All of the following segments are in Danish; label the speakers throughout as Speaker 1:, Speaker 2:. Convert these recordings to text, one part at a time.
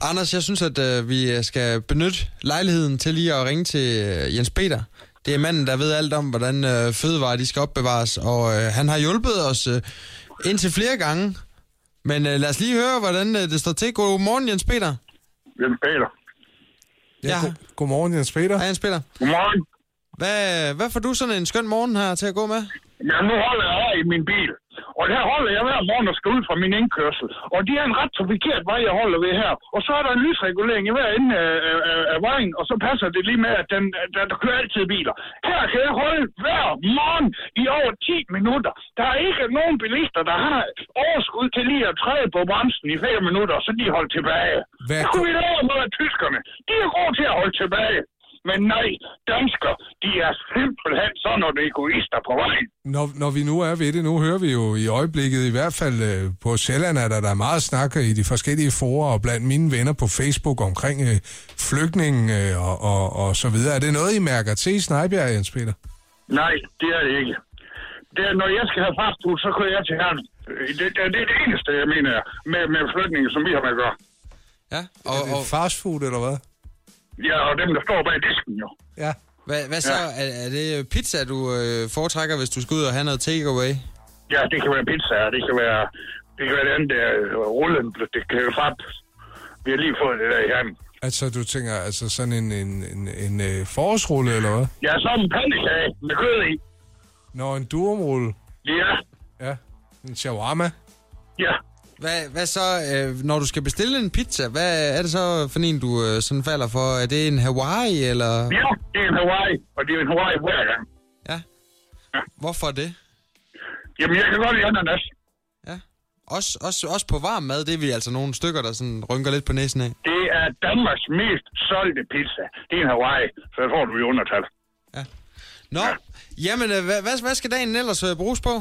Speaker 1: Anders, jeg synes, at øh, vi skal benytte lejligheden til lige at ringe til øh, Jens Peter. Det er manden, der ved alt om, hvordan øh, fødevarer de skal opbevares, og øh, han har hjulpet os øh, indtil flere gange. Men øh, lad os lige høre, hvordan øh, det står til. Godmorgen, Jens Peter.
Speaker 2: Jens Peter.
Speaker 1: Ja,
Speaker 3: go- Godmorgen, Jens Peter.
Speaker 1: hej Jens Peter.
Speaker 2: Godmorgen.
Speaker 1: Hvad, øh, hvad får du sådan en skøn morgen her til at gå med?
Speaker 2: Ja, nu holder jeg her i min bil. Og der holder jeg hver morgen og skal ud fra min indkørsel. Og det er en ret trafikeret vej, jeg holder ved her. Og så er der en lysregulering i hver ende af, af, af, af vejen, og så passer det lige med, at den, at der, der kører altid biler. Her kan jeg holde hver morgen i over 10 minutter. Der er ikke nogen bilister, der har overskud til lige at træde på bremsen i 5 minutter, og så de holder tilbage.
Speaker 3: Hvad-
Speaker 2: Hvad? Det kunne vi lave noget af tyskerne. De er gode til at holde tilbage. Men nej, danskere, de er simpelthen sådan nogle egoister på vejen.
Speaker 3: Når, når vi nu er ved det, nu hører vi jo i øjeblikket, i hvert fald øh, på Sjælland, at der, der er meget snak i de forskellige forer og blandt mine venner på Facebook omkring øh, flygtninge øh, og, og, og så videre. Er det noget, I mærker til i Snejbjerg, Jens Peter?
Speaker 2: Nej, det er det ikke. Det er, når jeg skal have fastfood, så kører jeg til herren. Det, det, det er det eneste, jeg mener, med, med flygtninge, som vi har med at gøre.
Speaker 1: Ja, og,
Speaker 3: Er
Speaker 1: og
Speaker 3: det fastfood, eller hvad?
Speaker 2: Ja, og dem, der står bag disken jo.
Speaker 3: Ja.
Speaker 1: hvad, hvad så?
Speaker 2: Ja.
Speaker 1: Er, er det pizza, du øh, foretrækker, hvis du skal ud og have noget takeaway?
Speaker 2: Ja, det kan være pizza, og det kan være, det kan være det andet, der øh, rullen, det kan være fat. Vi har lige fået det der i herren.
Speaker 3: Altså, du tænker, altså sådan en, en, en, en øh, forårsrulle, eller hvad?
Speaker 2: Ja, så en pandekage med kød i.
Speaker 3: Nå, en durumrulle.
Speaker 2: Ja,
Speaker 3: Ja. En shawarma.
Speaker 2: ja.
Speaker 1: Hvad, hvad så, øh, når du skal bestille en pizza, hvad er det så for en, du øh, sådan falder for? Er det en Hawaii, eller...
Speaker 2: Ja, det er en Hawaii, og det er en Hawaii hver gang.
Speaker 1: Ja. Hvorfor det?
Speaker 2: Jamen, jeg kan godt lide ananas.
Speaker 1: Ja. Også, også, også på varm mad, det er vi altså nogle stykker, der sådan rynker lidt på næsen af.
Speaker 2: Det er Danmarks mest solgte pizza. Det er en Hawaii, så jeg tror, du vil undertale.
Speaker 1: Ja. Nå, jamen, øh, hvad, hvad, hvad skal dagen ellers øh, bruges på?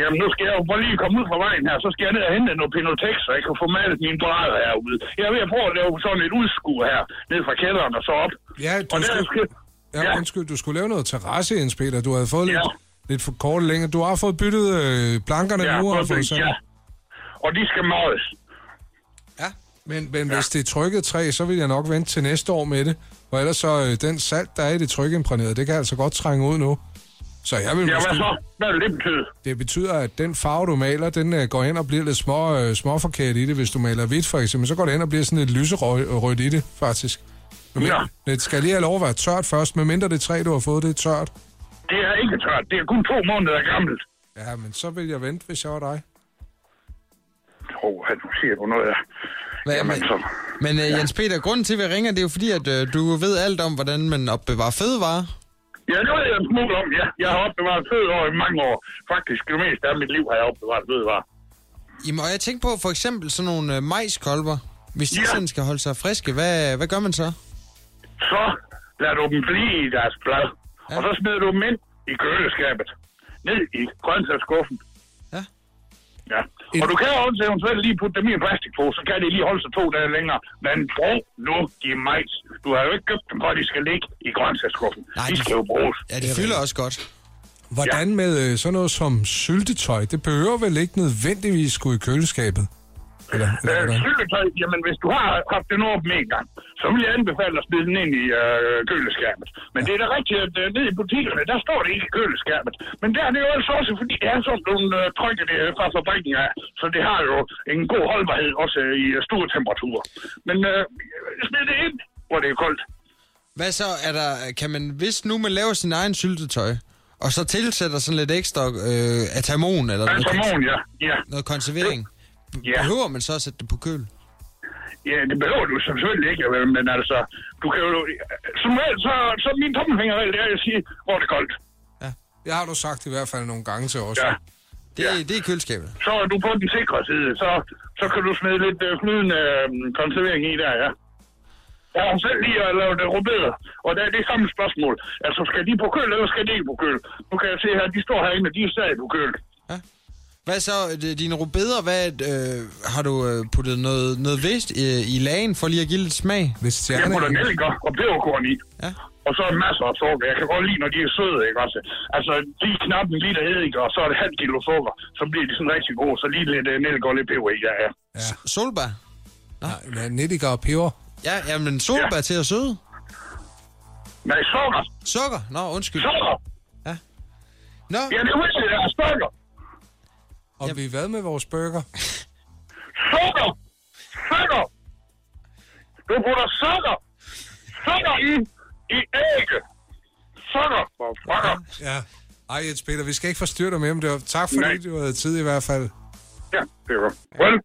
Speaker 2: Jamen, nu skal jeg jo bare lige komme ud fra vejen her, så skal jeg ned og hente noget Pinotex, så jeg kan få malet mine brædder herude. Jeg er ved at prøve at lave sådan et udskue her, ned fra kælderen og så op.
Speaker 3: Ja, du
Speaker 2: og der
Speaker 3: skal-
Speaker 2: skal...
Speaker 3: Ja, ja,
Speaker 2: Ja.
Speaker 3: undskyld, du skulle lave noget terrasse, Jens Peter. Du havde fået ja.
Speaker 2: Ja.
Speaker 3: lidt, lidt for kort længere. Du har fået byttet øh, plankerne
Speaker 2: Ja,
Speaker 3: nu og
Speaker 2: både-
Speaker 3: fået sådan.
Speaker 2: ja. Og de skal males.
Speaker 1: Ja.
Speaker 3: Men, men ja. hvis det er trykket træ, så vil jeg nok vente til næste år med det. Og ellers så, øh, den salt, der er i det trykimprægnerede, det kan altså godt trænge ud nu. Så jeg vil
Speaker 2: Ja, hvad
Speaker 3: måske...
Speaker 2: så? Hvad vil det betyde?
Speaker 3: Det betyder, at den farve, du maler, den øh, går hen og bliver lidt små, øh, småforkert i det. Hvis du maler hvidt, for eksempel, så går det hen og bliver sådan lidt lyserødt i det, faktisk. Men,
Speaker 2: Ja.
Speaker 3: Det skal lige have lov at være tørt først, medmindre det træ, du har fået, det er tørt.
Speaker 2: Det er ikke tørt. Det er kun to måneder gammelt.
Speaker 3: Ja, men så vil jeg vente, hvis jeg var dig.
Speaker 2: Åh, oh, nu siger du noget af.
Speaker 1: Hvad,
Speaker 2: Jamen, så...
Speaker 1: Men øh, Jens Peter, grunden til, at vi ringer, det er jo fordi, at øh, du ved alt om, hvordan man opbevarer fødevarer.
Speaker 2: Ja, det ved jeg en smule om, ja. Jeg har opbevaret fødevarer i mange år. Faktisk, det meste af mit liv har jeg opbevaret fødevarer.
Speaker 1: Jamen, og jeg tænker på for eksempel sådan nogle øh, majskolber. Hvis de
Speaker 2: Ja.
Speaker 1: sådan skal holde sig friske, hvad, hvad gør man så?
Speaker 2: så lader du dem blive i deres blad.
Speaker 1: Ja.
Speaker 2: Ja. Og så smider du dem ind i køleskabet. Ned i grøntsagsskuffen.
Speaker 1: Ja.
Speaker 2: Ja. Og
Speaker 3: En-
Speaker 2: du kan jo også eventuelt lige putte dem i en plastikpose, så kan de lige holde sig to dage længere. Men brug nu de majs. Du har jo ikke købt dem, for de skal ligge i grøntsagsskuffen.
Speaker 1: Nej,
Speaker 2: De
Speaker 1: de-
Speaker 2: skal jo bruges.
Speaker 1: Ja, de fylder også godt.
Speaker 3: Hvordan med øh, sådan noget som syltetøj? Det behøver vel ikke nødvendigvis skulle i køleskabet? Eller, eller
Speaker 2: Øh,
Speaker 3: hvordan?
Speaker 2: Syltetøj, jamen hvis du har haft den åben en gang, så vil jeg anbefale at smide den ind i øh, køleskabet. Men det er da rigtigt, at øh, nede i butikkerne, der står det ikke i køleskabet. Men der er det jo altså også, fordi det er sådan nogle øh, trykker det er fra fabrikken af, så det har jo en god holdbarhed også i øh, store temperaturer. Men øh, smid det ind, hvor det er koldt.
Speaker 1: Hvad så er der, kan man, hvis nu man laver sin egen syltetøj, og så tilsætter sådan lidt ekstra øh, atamon eller noget,
Speaker 2: Altså morgen, ja. ja.
Speaker 1: noget konservering,
Speaker 2: Ja.
Speaker 1: behøver man så at sætte det på køl?
Speaker 2: Ja, det behøver du selvfølgelig ikke, vel, men altså, du kan jo... Som regel, så, så min tommelfingerregel, det er at sige, hvor er det koldt.
Speaker 3: Det har du sagt i hvert fald nogle gange til os.
Speaker 2: Ja.
Speaker 1: Det, ja. det er i køleskabet.
Speaker 2: så er du på den sikre side. Så, så kan du smide lidt øh, flydende øh, konservering i der, ja. Jeg har selv lige at lave det rubeder, og der er det samme spørgsmål. Altså, skal de på køl, eller skal de ikke på køl? Nu kan jeg se her, de står herinde, og de er stadig på køl.
Speaker 1: Hvad så, øh, dine rubeder, hvad, øh, har du øh, puttet noget, noget vist øh, i lagen for lige at give lidt smag?
Speaker 3: Hvis
Speaker 2: Jeg putter
Speaker 3: stjerne...
Speaker 2: nelliker og peberkorn i.
Speaker 1: Ja.
Speaker 2: Og så masser af sukker. Jeg kan godt lide, når de er søde, ikke også? Altså, lige knap en liter eddike, og så er det halv kilo sukker. Så bliver de sådan rigtig gode. Så lige lidt øh, nelliker og lidt peber i, ja, ja.
Speaker 3: Ja.
Speaker 1: Solbær?
Speaker 3: Nej, nettiker og peber.
Speaker 1: Ja, jamen solbær til at søde.
Speaker 2: Nej, sukker.
Speaker 1: Sukker? Nå, undskyld.
Speaker 2: Sukker.
Speaker 1: Nå,
Speaker 2: Ja, det er rigtigt, der er sukker.
Speaker 3: Og vi er hvad med vores burger?
Speaker 2: Sukker. Sukker. Du putter sukker. Sukker i, i ægge. Sukker. For fucker.
Speaker 3: Ja. Ej, Jens Peter, vi skal ikke forstyrre dig mere om det. var- Tak fordi
Speaker 2: Nej.
Speaker 3: du havde tid i hvert fald.
Speaker 2: Ja, det er godt. Well.